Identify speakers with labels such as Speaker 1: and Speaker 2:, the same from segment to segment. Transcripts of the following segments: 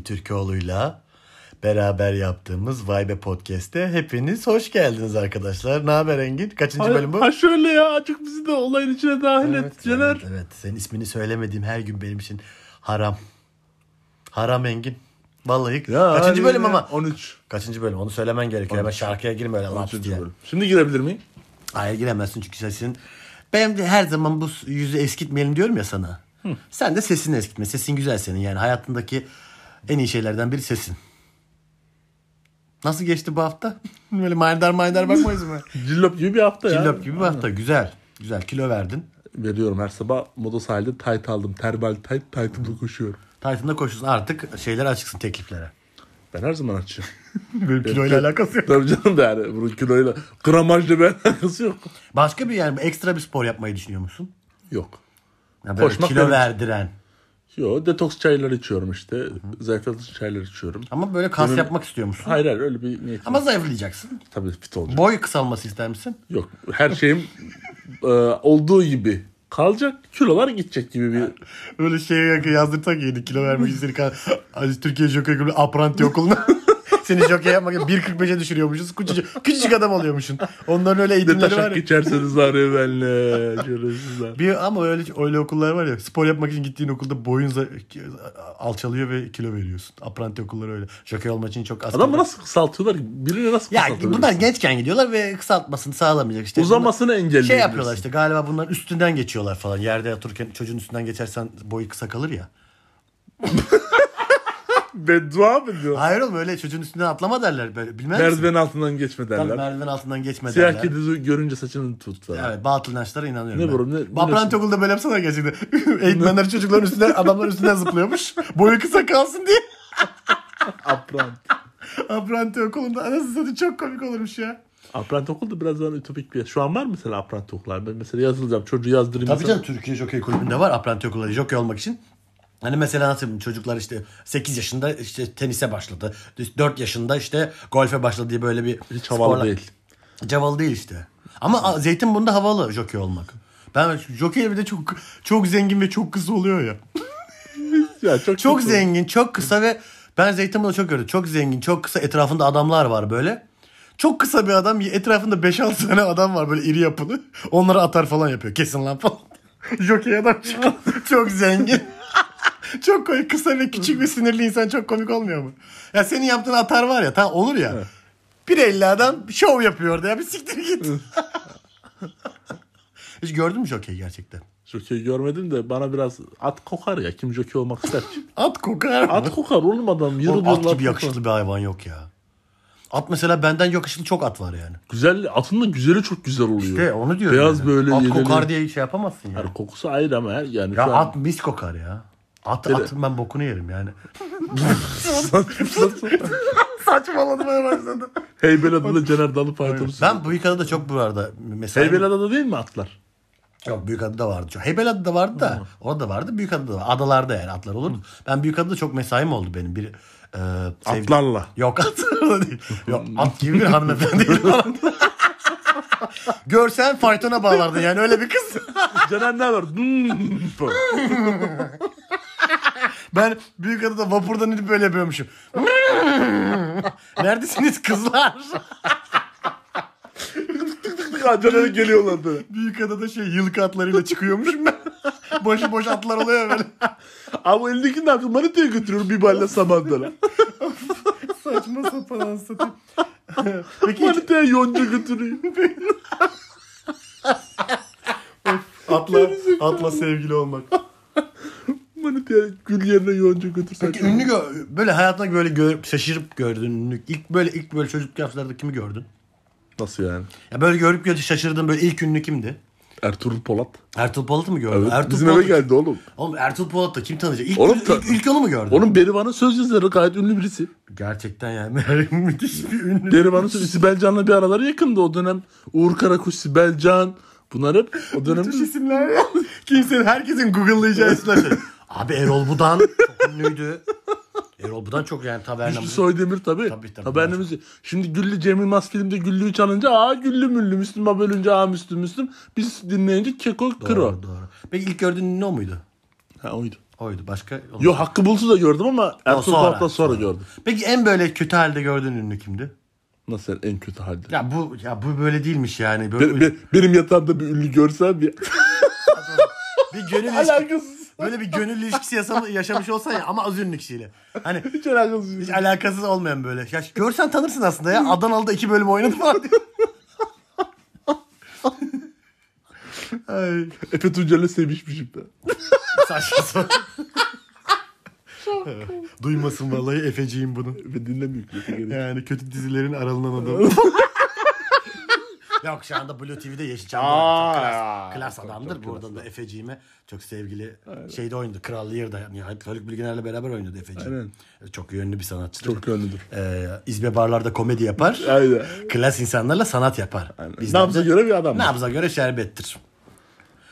Speaker 1: Türkoğlu'yla beraber yaptığımız Vibe Podcast'te hepiniz hoş geldiniz arkadaşlar. Ne haber Engin? Kaçıncı bölüm bu?
Speaker 2: Ha şöyle ya azıcık bizi de olayın içine dahil et Cener.
Speaker 1: Evet, evet. Senin ismini söylemediğim her gün benim için haram. Haram Engin. Vallahi
Speaker 2: Ya,
Speaker 1: kaçıncı
Speaker 2: hadi
Speaker 1: bölüm
Speaker 2: ya.
Speaker 1: ama?
Speaker 2: 13.
Speaker 1: Kaçıncı bölüm? Onu söylemen gerekiyor. Hemen şarkıya girme öyle laf
Speaker 2: 13.
Speaker 1: diye.
Speaker 2: bölüm. Şimdi girebilir miyim?
Speaker 1: Hayır giremezsin çünkü sesin. Ben de her zaman bu yüzü eskitmeyelim diyorum ya sana. Sen de sesini eskitme. Sesin güzel senin yani. Hayatındaki en iyi şeylerden biri sesin. Nasıl geçti bu hafta? Böyle manidar manidar bakmayız mı?
Speaker 2: Cillop gibi bir hafta ya.
Speaker 1: Cillop gibi bir hafta. Güzel. Güzel. Kilo verdin.
Speaker 2: Veriyorum her sabah moda sahilde tight aldım. Termal tight, tight'ımla koşuyorum.
Speaker 1: Titan'da koşuyorsun. Artık şeyler açıksın tekliflere.
Speaker 2: Ben her zaman açığım.
Speaker 1: Benim kiloyla alakası yok.
Speaker 2: Tabii canım da yani bunun kiloyla gramajla bir alakası yok.
Speaker 1: Başka bir yani ekstra bir spor yapmayı düşünüyor musun?
Speaker 2: Yok.
Speaker 1: Ya böyle
Speaker 2: Koşmak
Speaker 1: kilo
Speaker 2: benim için.
Speaker 1: verdiren.
Speaker 2: Yo detoks çayları içiyorum işte. Zayıflatıcı çayları içiyorum.
Speaker 1: Ama böyle kas
Speaker 2: Benim-
Speaker 1: yapmak istiyor musun?
Speaker 2: Hayır hayır öyle bir niyetim.
Speaker 1: Ama zayıflayacaksın.
Speaker 2: Tabii fit olacak.
Speaker 1: Boy kısalması ister misin?
Speaker 2: Yok. Her şeyim e, olduğu gibi kalacak. Kilolar gidecek gibi bir
Speaker 1: Öyle şey yazdırsak yedi kilo vermek istedik. Aziz Türkiye Jockey Kulübü Apranti Okulu'na. Seni jockey yapmak 1.45'e düşürüyormuşuz. Küçücük, küçücük adam oluyormuşsun. Onların öyle
Speaker 2: Ne
Speaker 1: eğitimleri var
Speaker 2: taşak
Speaker 1: ya.
Speaker 2: geçerseniz arıyor benle. Şerefsizler.
Speaker 1: Bir, ama öyle öyle okullar var ya spor yapmak için gittiğin okulda boyun za- alçalıyor ve kilo veriyorsun. Apranti okulları öyle. Jockey olmak için çok az.
Speaker 2: Adamı nasıl kısaltıyorlar? ki? Birini nasıl
Speaker 1: Ya
Speaker 2: kısaltabilirsin?
Speaker 1: bunlar gençken gidiyorlar ve kısaltmasını sağlamayacak işte.
Speaker 2: Uzamasını engelliyor.
Speaker 1: Şey yapıyorlar işte galiba bunların üstünden geçiyorlar falan. Yerde yatırken çocuğun üstünden geçersen boyu kısa kalır ya.
Speaker 2: Beddua mı diyor?
Speaker 1: Hayır oğlum öyle çocuğun üstünden atlama derler böyle. Bilmez misin?
Speaker 2: Merdiven altından geçme
Speaker 1: Tabii
Speaker 2: derler.
Speaker 1: merdiven altından geçme
Speaker 2: Siyah
Speaker 1: derler.
Speaker 2: kedi görünce saçını tut falan.
Speaker 1: Evet batıl inançlara inanıyorum
Speaker 2: Ne
Speaker 1: ben.
Speaker 2: bu oğlum, ne- bu
Speaker 1: Baprant
Speaker 2: nasıl-
Speaker 1: okulda böyle yapsana gerçekten. Eğitmenler çocukların üstünden adamların üstünden zıplıyormuş. Boyu kısa kalsın diye.
Speaker 2: Aprant.
Speaker 1: Apranti okulunda anasını satayım çok komik olurmuş ya.
Speaker 2: Aprant okul da biraz daha ütopik bir yer. Şu an var mı sen aprant okullar? Ben mesela yazılacağım. Çocuğu yazdırayım.
Speaker 1: Tabii canım
Speaker 2: mesela.
Speaker 1: Türkiye Jockey Kulübü'nde var apranti okulları jockey olmak için. Hani mesela nasıl yapayım? çocuklar işte 8 yaşında işte tenise başladı. 4 yaşında işte golfe başladı diye böyle bir
Speaker 2: Hiç havalı
Speaker 1: sporla-
Speaker 2: değil.
Speaker 1: Cavalı değil işte. Ama a- Zeytinburnu'nda havalı jockey olmak. Ben jockey bir de çok çok zengin ve çok kısa oluyor ya.
Speaker 2: Ya çok,
Speaker 1: Çok zengin, çok kısa ve ben Zeytinburnu'da çok gördüm. Çok zengin, çok kısa etrafında adamlar var böyle. Çok kısa bir adam etrafında 5-6 tane adam var böyle iri yapılı. Onları atar falan yapıyor. Kesin lan falan. Jockey adam çıkıyor. çok zengin. çok komik. Kısa ve küçük ve sinirli insan çok komik olmuyor mu? Ya senin yaptığın atar var ya. Tamam olur ya. Bir elli adam şov yapıyor orada ya. Bir siktir git. Hiç gördün mü Jockey'i gerçekten?
Speaker 2: Jockey görmedim de bana biraz at kokar ya. Kim jockey olmak ister ki?
Speaker 1: At kokar mı?
Speaker 2: At kokar oğlum adam. Yürü
Speaker 1: Oğlum at
Speaker 2: diyorlar,
Speaker 1: gibi
Speaker 2: kokar.
Speaker 1: yakışıklı bir hayvan yok ya. At mesela benden yakışıklı çok at var yani.
Speaker 2: Güzel, atın da güzeli çok güzel oluyor.
Speaker 1: De onu diyorum.
Speaker 2: Beyaz
Speaker 1: yani.
Speaker 2: böyle
Speaker 1: At
Speaker 2: yeleli.
Speaker 1: kokar diye şey yapamazsın ya.
Speaker 2: Yani kokusu ayrı ama her- yani
Speaker 1: Ya
Speaker 2: şu
Speaker 1: at mis kokar ya. At,
Speaker 2: Değil mi?
Speaker 1: at ben bokunu yerim yani.
Speaker 2: an...
Speaker 1: Saçmalamaya başladı.
Speaker 2: Heybeliada'da Cener Dalı paylaşmış.
Speaker 1: Ben Büyükada'da çok burada mesela.
Speaker 2: Heybeliada'da değil mi atlar?
Speaker 1: Yok Büyükada'da vardı. Çok. Heybeliada'da vardı da. Orada vardı. Büyükada'da vardı. Adalarda yani atlar olurdu. Ben Büyükada'da çok mesaim oldu benim. Bir e, sevdi-
Speaker 2: Atlarla.
Speaker 1: Yok atlarla değil. Yok at gibi bir hanımefendi falan. Görsen faytona bağlardın yani öyle bir kız.
Speaker 2: Cener ne var? Hmm.
Speaker 1: Ben büyük adada vapurdan inip böyle yapıyormuşum. Neredesiniz kızlar?
Speaker 2: Ya Cener'e geliyorlar böyle.
Speaker 1: Büyük adada şey yılkı atlarıyla çıkıyormuşum ben. Boşu boş atlar oluyor böyle.
Speaker 2: Ama elindeki ne yapıyor? Manitaya götürüyor bir balle samandıra.
Speaker 1: Saçma sapan anlatayım. Peki hiç
Speaker 2: Manitaya yonca götürüyor.
Speaker 1: atla, atla sevgili olmak.
Speaker 2: Manitaya gül yerine yonca götürsen.
Speaker 1: Peki ünlü gö- böyle hayatında böyle gör- şaşırıp gördüğün ünlü. ilk böyle ilk böyle çocukluk yaşlarda kimi gördün?
Speaker 2: Nasıl yani?
Speaker 1: Ya böyle görüp görüp şaşırdığın böyle ilk ünlü kimdi?
Speaker 2: Ertuğrul Polat.
Speaker 1: Ertuğrul Polat'ı mı gördün?
Speaker 2: Evet,
Speaker 1: Ertuğrul
Speaker 2: bizim eve
Speaker 1: Polat-
Speaker 2: geldi oğlum.
Speaker 1: Oğlum Ertuğrul Polat da kim tanıyacak? İlk,
Speaker 2: Oğlum ta-
Speaker 1: ilk, ilk onu mu gördün?
Speaker 2: Onun Berivan'ın söz yazarı gayet ünlü birisi.
Speaker 1: Gerçekten yani müthiş bir ünlü.
Speaker 2: Berivan'ın sözü Sibel Can'la bir araları yakındı o dönem. Uğur Karakuş, Sibel Can. Bunlar hep o dönemde
Speaker 1: Müthiş isimler ya. Kimsenin, herkesin Google'layacağı isimler. şey. Abi Erol Budan çok ünlüydü. Erol Budan çok yani taverna.
Speaker 2: Güçlü Soydemir tabii.
Speaker 1: Tabii,
Speaker 2: Tabii
Speaker 1: tabii.
Speaker 2: tabii. Haberimiz. Şimdi Güllü Cem Yılmaz filmde Güllü'yü çalınca aa Güllü Müllü Müslüm bölünce aa Müslüm Müslüm. Biz dinleyince Keko Kro.
Speaker 1: Doğru, doğru. Peki ilk gördüğün ünlü o muydu?
Speaker 2: Ha oydu.
Speaker 1: Oydu. Başka olmadı.
Speaker 2: Yo Hakkı Bulut'u da gördüm ama Ertuğrul
Speaker 1: sonra.
Speaker 2: Polat'tan sonra, gördüm.
Speaker 1: Peki en böyle kötü halde gördüğün ünlü kimdi?
Speaker 2: Nasıl en kötü halde?
Speaker 1: Ya bu ya bu böyle değilmiş yani. Böyle
Speaker 2: Be- be- benim yatağımda bir ünlü görsen bir
Speaker 1: bir gönül ilişkisi,
Speaker 2: alakasız.
Speaker 1: böyle bir gönül ilişkisi yasam- yaşamış olsan ya ama az ünlü kişiyle. Hani
Speaker 2: Hiç alakasız.
Speaker 1: hiç alakasız olmayan böyle. Ya görsen tanırsın aslında ya. Adanalı'da iki bölüm oynadı falan diyor. Ay.
Speaker 2: Efe Tuncer'le sevişmişim ben.
Speaker 1: Saçma sapan. Duymasın vallahi Efeciğim bunu.
Speaker 2: Ve dinlemiyor.
Speaker 1: Yani kötü dizilerin aralanan adamı. Yok şu anda Blue TV'de Yeşilçam'da
Speaker 2: Aa,
Speaker 1: çok klas,
Speaker 2: ya.
Speaker 1: klas
Speaker 2: Çok,
Speaker 1: adamdır.
Speaker 2: çok
Speaker 1: Buradan da Efeciğime çok sevgili şeyde oynadı. Kral Lear'da nihayet Haluk Bilginer'le beraber oynadı Efeciğim.
Speaker 2: Aynen.
Speaker 1: Çok yönlü bir sanatçıdır.
Speaker 2: Çok gönlüdür.
Speaker 1: Ee, İzbe barlarda komedi yapar.
Speaker 2: Aynen.
Speaker 1: Klas insanlarla sanat yapar. Bizden
Speaker 2: Nabza
Speaker 1: de-
Speaker 2: göre bir adam.
Speaker 1: Nabza göre şerbettir.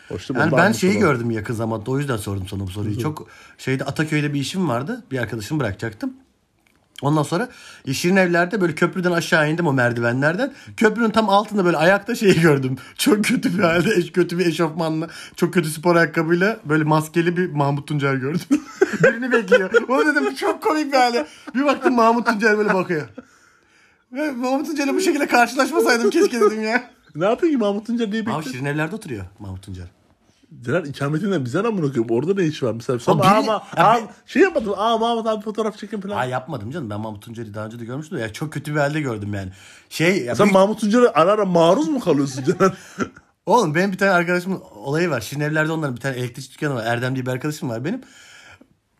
Speaker 2: Hoştu
Speaker 1: Yani ben şeyi gördüm yakın zamanda o yüzden sordum sana bu soruyu. Çok şeyde Ataköy'de bir işim vardı. Bir arkadaşımı bırakacaktım. Ondan sonra Şirin Evler'de böyle köprüden aşağı indim o merdivenlerden. Köprünün tam altında böyle ayakta şeyi gördüm. Çok kötü bir halde eş, kötü bir eşofmanla, çok kötü spor ayakkabıyla böyle maskeli bir Mahmut Tuncer gördüm. Birini bekliyor. O dedim çok komik bir hale. Bir baktım Mahmut Tuncer böyle bakıyor. Ve Mahmut Tuncer'le bu şekilde karşılaşmasaydım keşke dedim ya.
Speaker 2: Ne yapayım ki Mahmut Tuncer diye
Speaker 1: Abi
Speaker 2: bekliyor.
Speaker 1: Şirin Evler'de oturuyor Mahmut Tuncer.
Speaker 2: Caner ikametinden bize ne bırakıyor? Orada ne iş var? Mesela sonra
Speaker 1: biri-
Speaker 2: ama
Speaker 1: Ya
Speaker 2: şey yapmadım. Aa Mahmut abi fotoğraf çekin falan.
Speaker 1: Aa yapmadım canım. Ben Mahmut Tuncer'i daha önce de görmüştüm. de Ya çok kötü bir halde gördüm yani. Şey ya
Speaker 2: Sen
Speaker 1: büyük-
Speaker 2: Mahmut Tuncer'e ara ara maruz mu kalıyorsun Caner?
Speaker 1: oğlum benim bir tane arkadaşımın olayı var. Şirin evlerde onların bir tane elektrikçi dükkanı var. Erdem diye bir arkadaşım var benim.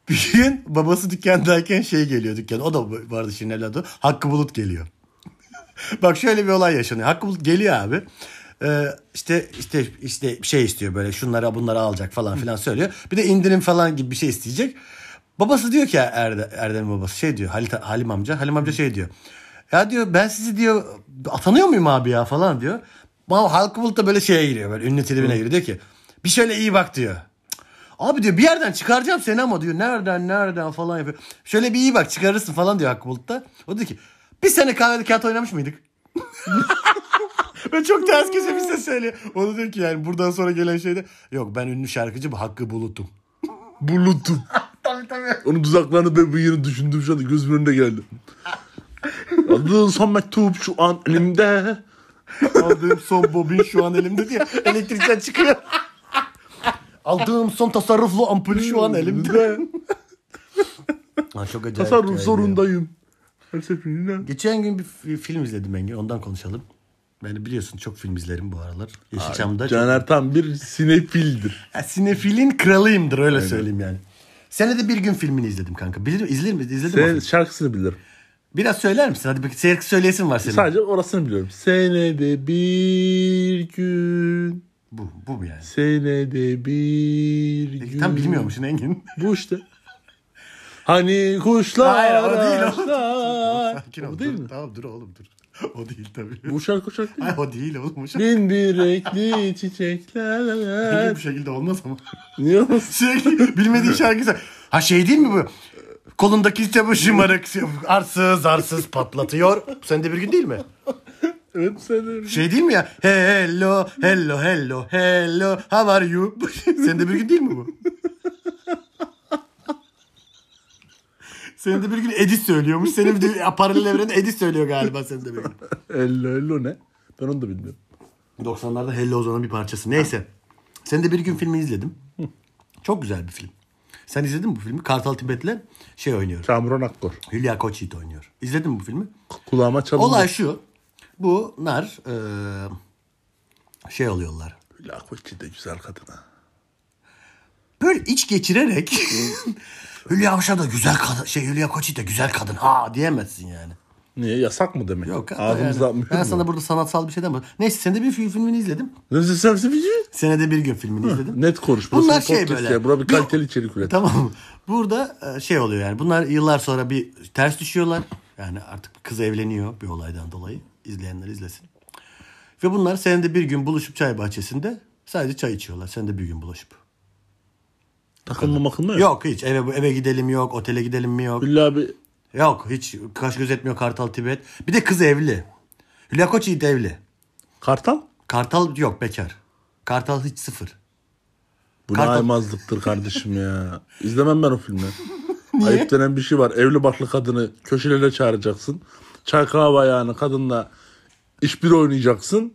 Speaker 1: Bir gün babası dükkandayken şey geliyor dükkan. O da bu- bu arada Şirin evlerde. o. Hakkı Bulut geliyor. Bak şöyle bir olay yaşanıyor. Hakkı Bulut geliyor abi. Ee, işte işte işte şey istiyor böyle şunları bunları alacak falan filan söylüyor. Bir de indirim falan gibi bir şey isteyecek. Babası diyor ki Erde, Erdem'in babası şey diyor Halit, Halim amca. Halim amca şey diyor. Ya diyor ben sizi diyor atanıyor muyum abi ya falan diyor. Ama Hakkı Bulut da böyle şeye giriyor böyle ünlü tribüne giriyor. Diyor ki bir şöyle iyi bak diyor. Abi diyor bir yerden çıkaracağım seni ama diyor nereden nereden falan yapıyor. Şöyle bir iyi bak çıkarırsın falan diyor Hakkı Bulut'ta. O diyor ki bir sene kahvede kağıt oynamış mıydık? Ve çok ters köşe bir ses söylüyor. O da diyor ki yani buradan sonra gelen şeyde yok ben ünlü şarkıcı bu Hakkı Bulut'um.
Speaker 2: Bulutum.
Speaker 1: Tabii tabii.
Speaker 2: Onun tuzaklarını ve bıyığını düşündüm şu anda gözümün önüne geldi. Adın son mektup şu an elimde.
Speaker 1: Aldığım son bobin şu an elimde diye elektrikten çıkıyor. Aldığım son tasarruflu ampul şu an elimde. Aa, çok acayip.
Speaker 2: Tasarruf
Speaker 1: yani.
Speaker 2: zorundayım. Her seferinde.
Speaker 1: Geçen gün bir fi- film izledim Engin. Ondan konuşalım. Beni biliyorsun çok film izlerim bu aralar. Yeşilçam'da. çok-
Speaker 2: Caner tam bir sinefildir.
Speaker 1: Ya, sinefilin kralıyımdır öyle söyleyeyim yani. Senede bir gün filmini izledim kanka. Bilir izler mi? İzledim
Speaker 2: Sen
Speaker 1: mi?
Speaker 2: şarkısını bilirim.
Speaker 1: Biraz söyler misin? Hadi bir şarkı söyleyesin var senin.
Speaker 2: Sadece orasını biliyorum. Senede bir gün.
Speaker 1: Bu, bu mu yani?
Speaker 2: Senede bir
Speaker 1: Peki,
Speaker 2: gün.
Speaker 1: Tam bilmiyormuşsun Engin.
Speaker 2: Bu işte. Hani kuşlar
Speaker 1: Hayır o değil o.
Speaker 2: ağaçlar-
Speaker 1: Sakin ol.
Speaker 2: O değil
Speaker 1: dur.
Speaker 2: mi?
Speaker 1: Tamam dur oğlum dur. O değil tabii.
Speaker 2: Bu şarkı şarkı değil mi?
Speaker 1: Ay, o değil oğlum. Şu-
Speaker 2: Bin bir renkli çiçekler.
Speaker 1: Bu şekilde olmaz ama.
Speaker 2: Niye olmasın?
Speaker 1: Sürekli bilmediğin şarkısı. Ha şey değil mi bu? Kolundaki çabuk şımarık arsız arsız patlatıyor. Sen de bir gün değil mi?
Speaker 2: Evet sen de.
Speaker 1: Şey değil mi ya? Hello, hello, hello, hello. How are you? Senin de bir gün değil mi bu? Senin de bir gün Edis söylüyormuş. Senin de paralel evrende Edis söylüyor galiba senin de bir gün.
Speaker 2: Ello ello ne? Ben onu da bilmiyorum.
Speaker 1: 90'larda Hello Ozan'ın bir parçası. Neyse. Sen de bir gün filmi izledim. Çok güzel bir film. Sen izledin mi bu filmi? Kartal Tibet'le şey oynuyor.
Speaker 2: Kamuran Akkor.
Speaker 1: Hülya Koçyiğit oynuyor. İzledin mi bu filmi?
Speaker 2: Kulağıma çalındı.
Speaker 1: Olay şu. Bunlar eee, şey oluyorlar.
Speaker 2: Hülya Koçi de güzel kadına.
Speaker 1: böyle iç geçirerek Hülya Avşar da güzel kadın şey Hülya Koçit de güzel kadın ha diyemezsin yani.
Speaker 2: Niye? Yasak mı demek?
Speaker 1: Yok abi,
Speaker 2: Ağzımızda
Speaker 1: yani.
Speaker 2: mühür
Speaker 1: Ben
Speaker 2: mü?
Speaker 1: sana burada sanatsal bir şeyden bahsediyorum. Neyse senede bir film filmini izledim.
Speaker 2: Nasıl sen sevici?
Speaker 1: Senede bir gün filmini izledim.
Speaker 2: Net konuş. Burası
Speaker 1: Bunlar
Speaker 2: bir
Speaker 1: şey
Speaker 2: podcast
Speaker 1: böyle.
Speaker 2: Ya. Bura bir kaliteli içerik üret.
Speaker 1: Tamam. Burada e, şey oluyor yani. Bunlar yıllar sonra bir ters düşüyorlar. Yani artık kız evleniyor bir olaydan dolayı. İzleyenler izlesin. Ve bunlar senede bir gün buluşup çay bahçesinde sadece çay içiyorlar. Senede bir gün buluşup.
Speaker 2: Takılma makılma yok.
Speaker 1: Yok hiç eve eve gidelim yok, otele gidelim mi yok.
Speaker 2: Hülya abi
Speaker 1: Yok hiç kaş göz etmiyor Kartal Tibet. Bir de kız evli. Hülya Koçyiğit evli.
Speaker 2: kartal.
Speaker 1: Kartal yok bekar. Kartal hiç sıfır.
Speaker 2: Bu ne
Speaker 1: Kartal-
Speaker 2: aymazlıktır kardeşim ya. İzlemem ben o filmi. Ayıp denen bir şey var. Evli barklı kadını köşelere çağıracaksın. Çay kahve ayağını kadınla işbir oynayacaksın.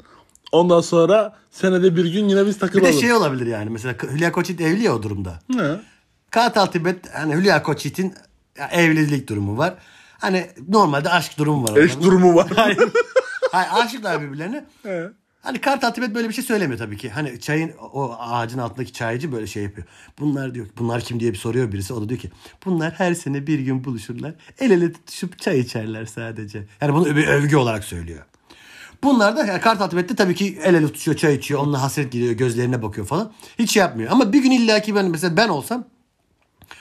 Speaker 2: Ondan sonra senede bir gün yine biz
Speaker 1: Bir
Speaker 2: takılalım.
Speaker 1: de şey olabilir yani mesela Hülya Koçit evli ya o durumda.
Speaker 2: Ne?
Speaker 1: Kartal Tibet yani Hülya Koçit'in ya, evlilik durumu var. Hani normalde aşk durumu var.
Speaker 2: Eş
Speaker 1: onların.
Speaker 2: durumu var.
Speaker 1: Hayır. Hayır aşıklar birbirlerine. Hani Kartal Tibet böyle bir şey söylemiyor tabii ki. Hani çayın o ağacın altındaki çaycı böyle şey yapıyor. Bunlar diyor ki, bunlar kim diye bir soruyor birisi. O da diyor ki bunlar her sene bir gün buluşurlar. El ele tutuşup çay içerler sadece. Yani bunu bir övgü olarak söylüyor. Bunlar da yani Kartal Tibet'te tabii ki el ele tutuşuyor, çay içiyor. Onunla hasret gidiyor, gözlerine bakıyor falan. Hiç şey yapmıyor. Ama bir gün illaki ben mesela ben olsam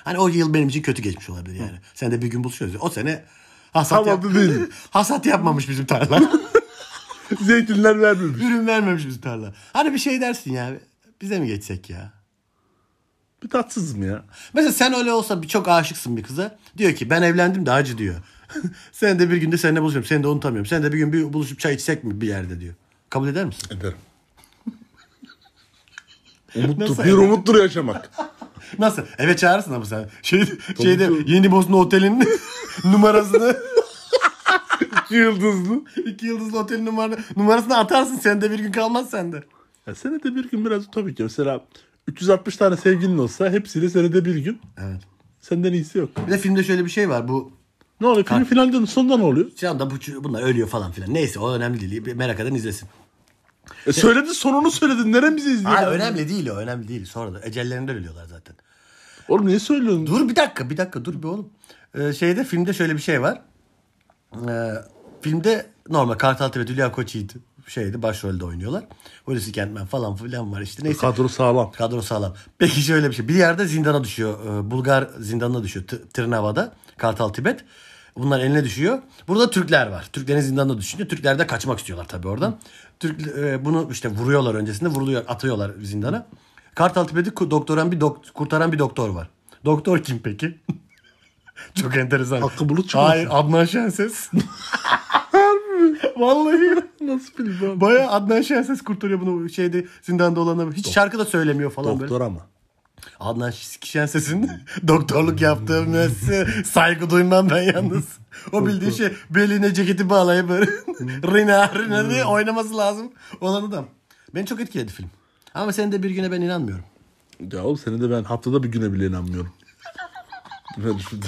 Speaker 1: Hani o yıl benim için kötü geçmiş olabilir yani. Sen de bir gün buluşuyoruz. O sene hasat,
Speaker 2: Tamam,
Speaker 1: yap-
Speaker 2: değil.
Speaker 1: hasat yapmamış bizim tarla.
Speaker 2: Zeytinler vermemiş.
Speaker 1: Ürün vermemiş bizim tarla. Hani bir şey dersin ya. Bize mi geçsek ya?
Speaker 2: Bir tatsız mı ya?
Speaker 1: Mesela sen öyle olsa bir çok aşıksın bir kıza. Diyor ki ben evlendim de hacı diyor. sen de bir günde seninle buluşuyorum. Seni de unutamıyorum. Sen de bir gün bir buluşup çay içsek mi bir yerde diyor. Kabul eder misin?
Speaker 2: Ederim. Umuttur.
Speaker 1: Nasıl
Speaker 2: Bir umuttur yaşamak.
Speaker 1: Nasıl? Eve çağırırsın ama sen. Şey, şeyde Yeni Bosna Oteli'nin numarasını
Speaker 2: İki yıldızlı.
Speaker 1: iki yıldızlı otelin numara, numarasını atarsın. Sen de bir gün kalmaz sende.
Speaker 2: Ya senede bir gün biraz tabii ki. Mesela 360 tane sevgilin olsa hepsiyle senede bir gün.
Speaker 1: Evet.
Speaker 2: Senden iyisi yok.
Speaker 1: Bir de filmde şöyle bir şey var. Bu
Speaker 2: Ne oluyor? Filmin finalden sonunda ne oluyor?
Speaker 1: şu anda bu, bunlar ölüyor falan filan. Neyse o önemli değil. Bir Merak eden izlesin.
Speaker 2: E söyledin sonunu söyledin. Neren bizi izliyor?
Speaker 1: Hayır önemli değil o. Önemli değil. Sonra da ecellerinde ölüyorlar zaten.
Speaker 2: Oğlum niye söylüyorsun?
Speaker 1: Dur bir dakika. Bir dakika dur bir oğlum. Ee, şeyde filmde şöyle bir şey var. Ee, filmde normal Kartal Tibet, Hülya Koçyiğit şeydi başrolde oynuyorlar. Hulusi Kentmen falan filan var işte. Neyse.
Speaker 2: Kadro sağlam.
Speaker 1: Kadro sağlam. Peki şöyle bir şey. Bir yerde zindana düşüyor. Ee, Bulgar zindanına düşüyor. T- Tırnava'da. Kartal Tibet. Bunlar eline düşüyor. Burada Türkler var. Türklerin zindanda düşünce Türkler de kaçmak istiyorlar tabii oradan. Türk e, bunu işte vuruyorlar öncesinde vuruluyor atıyorlar zindana. Kartal Tibet'i ku- doktoran bir dok- kurtaran bir doktor var. Doktor kim peki? Çok enteresan.
Speaker 2: Hakkı Bulut çıkmasın.
Speaker 1: Hayır Adnan Şenses. Vallahi
Speaker 2: Nasıl bilmem.
Speaker 1: Baya Adnan Şenses kurtarıyor bunu şeyde zindanda olana. Hiç şarkı da söylemiyor falan böyle.
Speaker 2: Doktor ama.
Speaker 1: Adnan Şişenses'in doktorluk yaptığı müessese saygı duymam ben yalnız. O bildiği şey beline ceketi bağlayıp böyle rina rina diye oynaması lazım olan adam. Beni çok etkiledi film. Ama senin de bir güne ben inanmıyorum.
Speaker 2: Ya oğlum seni de ben haftada bir güne bile inanmıyorum. Ben şimdi-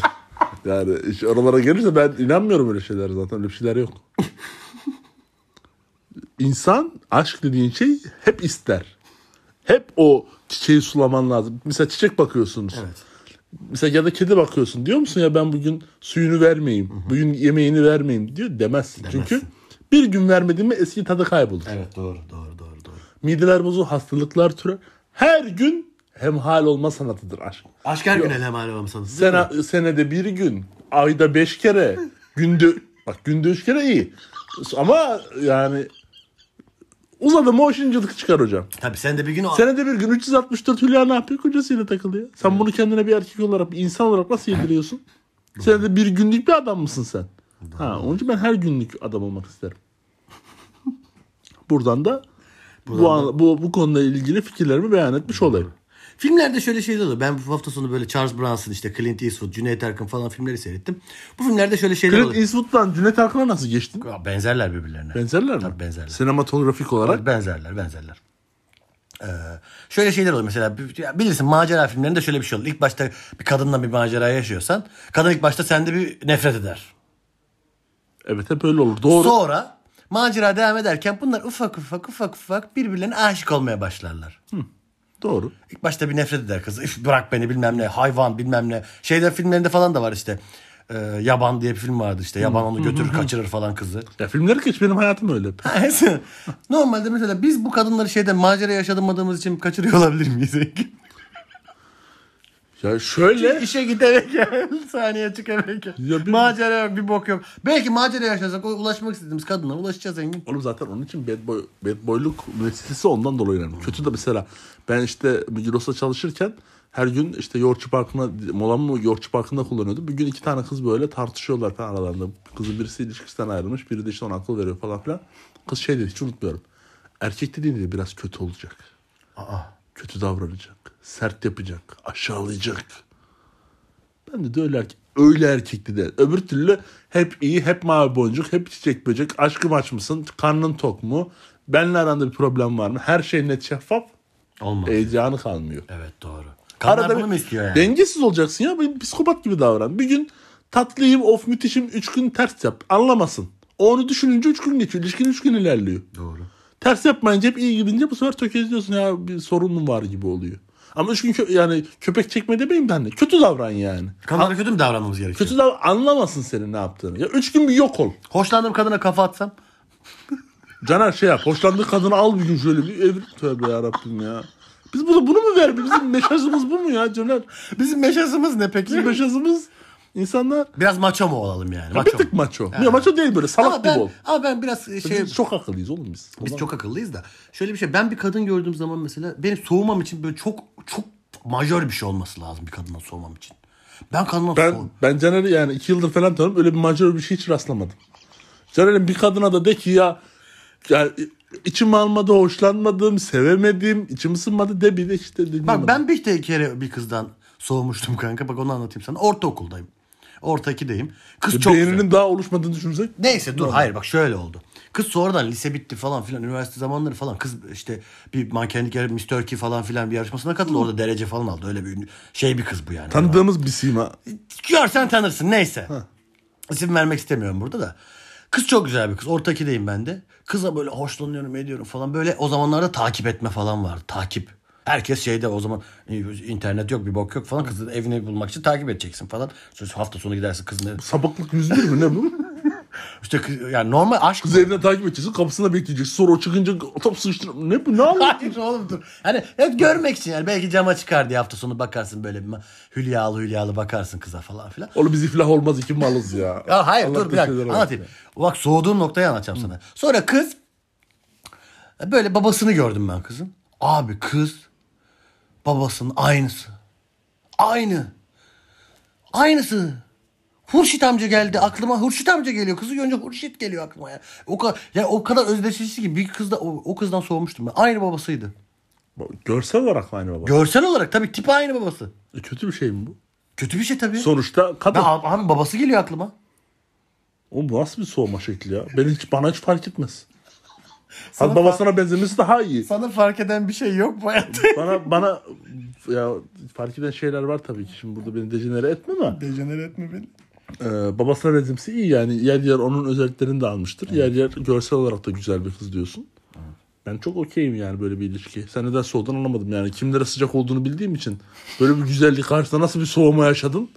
Speaker 2: yani iş oralara gelirse ben inanmıyorum öyle şeyler zaten. Öyle bir şeyler yok. İnsan aşk dediğin şey hep ister. Hep o çiçeği sulaman lazım. Mesela çiçek bakıyorsunuz.
Speaker 1: Evet.
Speaker 2: Mesela ya da kedi bakıyorsun. Diyor musun ya ben bugün suyunu vermeyeyim. Bugün yemeğini vermeyeyim diyor. Demezsin. Çünkü bir gün vermediğinde eski tadı kaybolur.
Speaker 1: Evet doğru doğru doğru doğru.
Speaker 2: Mideler bozulur, hastalıklar türer. Her gün hemhal olma sanatıdır aşk.
Speaker 1: Aşk her gün eleman olmasanız.
Speaker 2: Sene, senede bir gün, ayda beş kere, günde bak günde üç kere iyi. Ama yani uzadı mı o şincılık çıkar hocam.
Speaker 1: Tabii sen de bir gün o...
Speaker 2: Senede bir gün 364 Hülya ne yapıyor? Kocasıyla takılıyor. Sen bunu kendine bir erkek olarak, bir insan olarak nasıl yediriyorsun? Senede bir günlük bir adam mısın sen? Ha, onun için ben her günlük adam olmak isterim. Buradan da bu, an- bu, bu konuda ilgili fikirlerimi beyan etmiş olayım.
Speaker 1: Filmlerde şöyle şeyler oluyor. Ben bu hafta sonu böyle Charles Bronson, işte Clint Eastwood, Cüneyt Arkın falan filmleri seyrettim. Bu filmlerde şöyle şeyler
Speaker 2: Clint
Speaker 1: oluyor.
Speaker 2: Eastwood'dan Cüneyt Arkın'a nasıl geçtin?
Speaker 1: Benzerler birbirlerine.
Speaker 2: Benzerler mi?
Speaker 1: Tabii benzerler.
Speaker 2: Sinematografik olarak.
Speaker 1: Benzerler, benzerler. Ee, şöyle şeyler oluyor mesela bi- ya bilirsin macera filmlerinde şöyle bir şey olur. İlk başta bir kadınla bir macera yaşıyorsan kadın ilk başta sende bir nefret eder.
Speaker 2: Evet hep öyle olur. Doğru.
Speaker 1: Sonra macera devam ederken bunlar ufak ufak ufak ufak birbirlerine aşık olmaya başlarlar.
Speaker 2: Doğru.
Speaker 1: İlk başta bir nefret eder kız. "Üf, bırak beni bilmem ne hayvan bilmem ne. Şeyler filmlerinde falan da var işte. Ee, Yaban diye bir film vardı işte. Yaban onu götürür kaçırır falan kızı.
Speaker 2: Ya filmleri geç benim hayatım öyle. hep.
Speaker 1: Normalde mesela biz bu kadınları şeyden macera yaşamadığımız için kaçırıyor olabilir miyiz Engin?
Speaker 2: Ya şöyle.
Speaker 1: İşe git eve gel. Saniye çık eve gel.
Speaker 2: Ya bir-
Speaker 1: Macera yok bir bok yok. Belki macera yaşasak o ulaşmak istediğimiz kadına ulaşacağız Engin.
Speaker 2: Oğlum zaten onun için bad, boy, bad boyluk müessesesi ondan dolayı önemli. Kötü de mesela ben işte Migros'ta çalışırken her gün işte Yoğurtçu Parkı'na, molamı Yoğurtçu Parkı'nda kullanıyordum. Bir gün iki tane kız böyle tartışıyorlar falan aralarında. Kızın birisi ilişkisinden ayrılmış, biri de işte ona akıl veriyor falan filan. Kız şey dedi, hiç unutmuyorum. Erkek dediğin de biraz kötü olacak.
Speaker 1: Aa.
Speaker 2: Kötü davranacak. Sert yapacak. Aşağılayacak. Ben de öyle erkek. Öyle erkekti de. Öbür türlü hep iyi, hep mavi boncuk, hep çiçek böcek. Aşkım aç mısın? Karnın tok mu? Benle aranda bir problem var mı? Her şey net şeffaf.
Speaker 1: Olmaz.
Speaker 2: Heyecanı kalmıyor.
Speaker 1: Evet doğru. E, Kadınlar
Speaker 2: Arada
Speaker 1: bunu
Speaker 2: bir-
Speaker 1: mu istiyor yani?
Speaker 2: Dengesiz olacaksın ya. Bir psikopat gibi davran. Bir gün tatlıyım, of müthişim. Üç gün ters yap. Anlamasın. O onu düşününce üç gün geçiyor. İlişkin üç gün ilerliyor.
Speaker 1: Doğru.
Speaker 2: Ters yapmayınca hep iyi gidince bu sefer tökezliyorsun ya bir sorun mu var gibi oluyor. Ama üç gün kö- yani köpek çekme demeyeyim ben de. Kötü davran yani.
Speaker 1: Kadınlara kötü mü davranmamız gerekiyor?
Speaker 2: Kötü davran anlamasın senin ne yaptığını. Ya üç gün bir yok ol.
Speaker 1: Hoşlandığım kadına kafa atsam.
Speaker 2: Caner şey yap. Hoşlandığı kadını al bir gün şöyle bir evir. Tövbe yarabbim ya. Biz bunu, bunu mu vermiyoruz? Bizim meşazımız bu mu ya Caner?
Speaker 1: Bizim meşasımız ne
Speaker 2: Bizim
Speaker 1: peki?
Speaker 2: meşazımız insanlar
Speaker 1: Biraz maço mu olalım yani? Maço
Speaker 2: bir
Speaker 1: mu?
Speaker 2: tık maço. Ya maço değil böyle salak
Speaker 1: Ama
Speaker 2: gibi
Speaker 1: ben,
Speaker 2: ol.
Speaker 1: ama ben biraz şey...
Speaker 2: Biz çok akıllıyız oğlum biz.
Speaker 1: Biz çok akıllıyız da. Şöyle bir şey. Ben bir kadın gördüğüm zaman mesela benim soğumam için böyle çok çok majör bir şey olması lazım bir kadından soğumam için. Ben kadından
Speaker 2: Ben
Speaker 1: soğum.
Speaker 2: ben Caner'i yani iki yıldır falan tanıyorum. Öyle bir macera bir şey hiç rastlamadım. Caner'in bir kadına da de ki ya yani içim almadı, hoşlanmadım, sevemedim, içim ısınmadı de bir de işte dinlemedim.
Speaker 1: Bak ben bir de kere bir kızdan soğumuştum kanka. Bak onu anlatayım sana. Ortaokuldayım. Orta ikideyim.
Speaker 2: E,
Speaker 1: Kız çok güzel.
Speaker 2: Beyninin daha oluşmadığını düşünürsek
Speaker 1: Neyse dur hayır bak şöyle oldu. Kız sonradan lise bitti falan filan üniversite zamanları falan kız işte bir mankenlik yarı Miss Turkey falan filan bir yarışmasına katıldı orada derece falan aldı öyle bir ünlü- şey bir kız bu yani.
Speaker 2: tanıdığımız bir sima.
Speaker 1: Görsen tanırsın neyse. İsim vermek istemiyorum burada da. Kız çok güzel bir kız. Orta ikideyim ben de. Kıza böyle hoşlanıyorum ediyorum falan. Böyle o zamanlarda takip etme falan vardı. Takip. Herkes şeyde o zaman internet yok bir bok yok falan. Kızı evini bulmak için takip edeceksin falan. Sonra hafta sonu gidersin kızın.
Speaker 2: Sapıklık yüzüdür mü ne bu?
Speaker 1: İşte kız- yani normal aşk.
Speaker 2: Kız evine takip edeceksin, kapısında bekleyeceksin. Sonra o çıkınca top sıçtın. Ne bu? Ne anlatıyorsun?
Speaker 1: Hayır oğlum dur. Hani hep görmek için yani belki cama çıkar diye hafta sonu bakarsın böyle bir ma- hülyalı hülyalı bakarsın kıza falan filan.
Speaker 2: Oğlum biz iflah olmaz iki malız ya.
Speaker 1: Ya hayır
Speaker 2: Allah
Speaker 1: dur bir dakika
Speaker 2: şeyler
Speaker 1: anlatayım. Bak soğuduğum noktayı anlatacağım sana. Sonra kız böyle babasını gördüm ben kızın. Abi kız babasının aynısı. Aynı. Aynısı. Hurşit amca geldi aklıma. Hurşit amca geliyor. Kızı görünce Hurşit geliyor aklıma ya. O kadar ya o kadar özdeşleşti ki bir kızda o, o kızdan soğumuştum ben. Aynı babasıydı.
Speaker 2: olsun. Görsel olarak mı aynı baba?
Speaker 1: Görsel olarak tabii tipi aynı babası.
Speaker 2: E, Kötü bir şey mi bu?
Speaker 1: Kötü bir şey tabii.
Speaker 2: Sonuçta kadın.
Speaker 1: ben, abi babası geliyor aklıma.
Speaker 2: Oğlum bu nasıl bir soğuma şekli ya? Ben hiç, bana hiç fark etmez.
Speaker 1: Sana
Speaker 2: Hadi babasına benzemesi daha iyi.
Speaker 1: Sana fark eden bir şey yok bu hayatta.
Speaker 2: bana bana ya fark eden şeyler var tabii ki. Şimdi burada beni dejenere etme ama
Speaker 1: Dejenere etme beni.
Speaker 2: e, babasına benzemesi iyi yani. Yer yer onun özelliklerini de almıştır. Yer yer görsel olarak da güzel bir kız diyorsun. Ben çok okeyim yani böyle bir ilişki. Sen neden soğudun anlamadım yani. Kimlere sıcak olduğunu bildiğim için böyle bir güzellik karşısında nasıl bir soğuma yaşadın?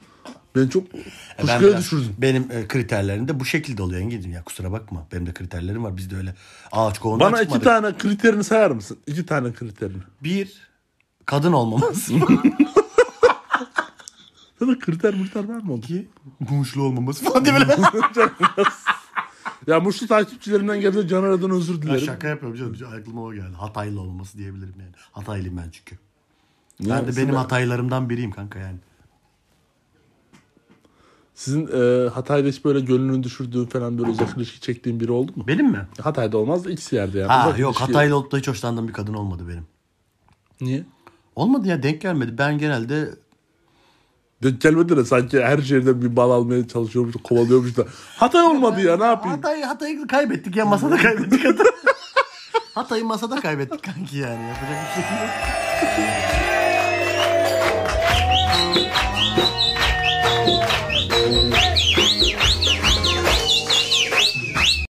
Speaker 2: Beni çok
Speaker 1: E, Ben
Speaker 2: kuşkuya
Speaker 1: biraz-
Speaker 2: düşürdün.
Speaker 1: Benim e, kriterlerim de bu şekilde oluyor Engin'cim ya kusura bakma. Benim de kriterlerim var. Biz de öyle ağaç kovuğundan
Speaker 2: Bana iki
Speaker 1: çıkmadık.
Speaker 2: tane kriterini sayar mısın? İki tane kriterini.
Speaker 1: Bir, kadın olmaması.
Speaker 2: Ya da kriter mırter var mı?
Speaker 1: İki, muşlu olmaması falan diye böyle.
Speaker 2: Ya Muşlu takipçilerimden gerçekten Caner adına özür
Speaker 1: Ya
Speaker 2: dilerim.
Speaker 1: şaka yapıyorum canım. Aklıma o geldi. Hataylı olmaması diyebilirim yani. Hataylıyım ben çünkü.
Speaker 2: Ya
Speaker 1: Ben de
Speaker 2: sizin-
Speaker 1: benim hataylarımdan biriyim kanka yani.
Speaker 2: Sizin e, Hatay'da hiç böyle gönlünü düşürdüğün falan böyle uzak ilişki çektiğin biri oldu mu?
Speaker 1: Benim mi?
Speaker 2: Hatay'da olmaz da ikisi yerde yani.
Speaker 1: Ha
Speaker 2: Uzak
Speaker 1: yok
Speaker 2: ilişki-
Speaker 1: Hataylı olup da hiç hoşlandığım bir kadın olmadı benim.
Speaker 2: Niye?
Speaker 1: Olmadı ya denk gelmedi. Ben genelde
Speaker 2: Denk gelmedi de sanki her şehirden bir bal almaya çalışıyormuş, kovalıyormuş da. Hatay olmadı ya ne yapayım?
Speaker 1: Hatay'ı Hatay'ı kaybettik ya masada kaybettik Hatay'ı. Hatay'ı masada kaybettik kanki yani yapacak bir şey yok.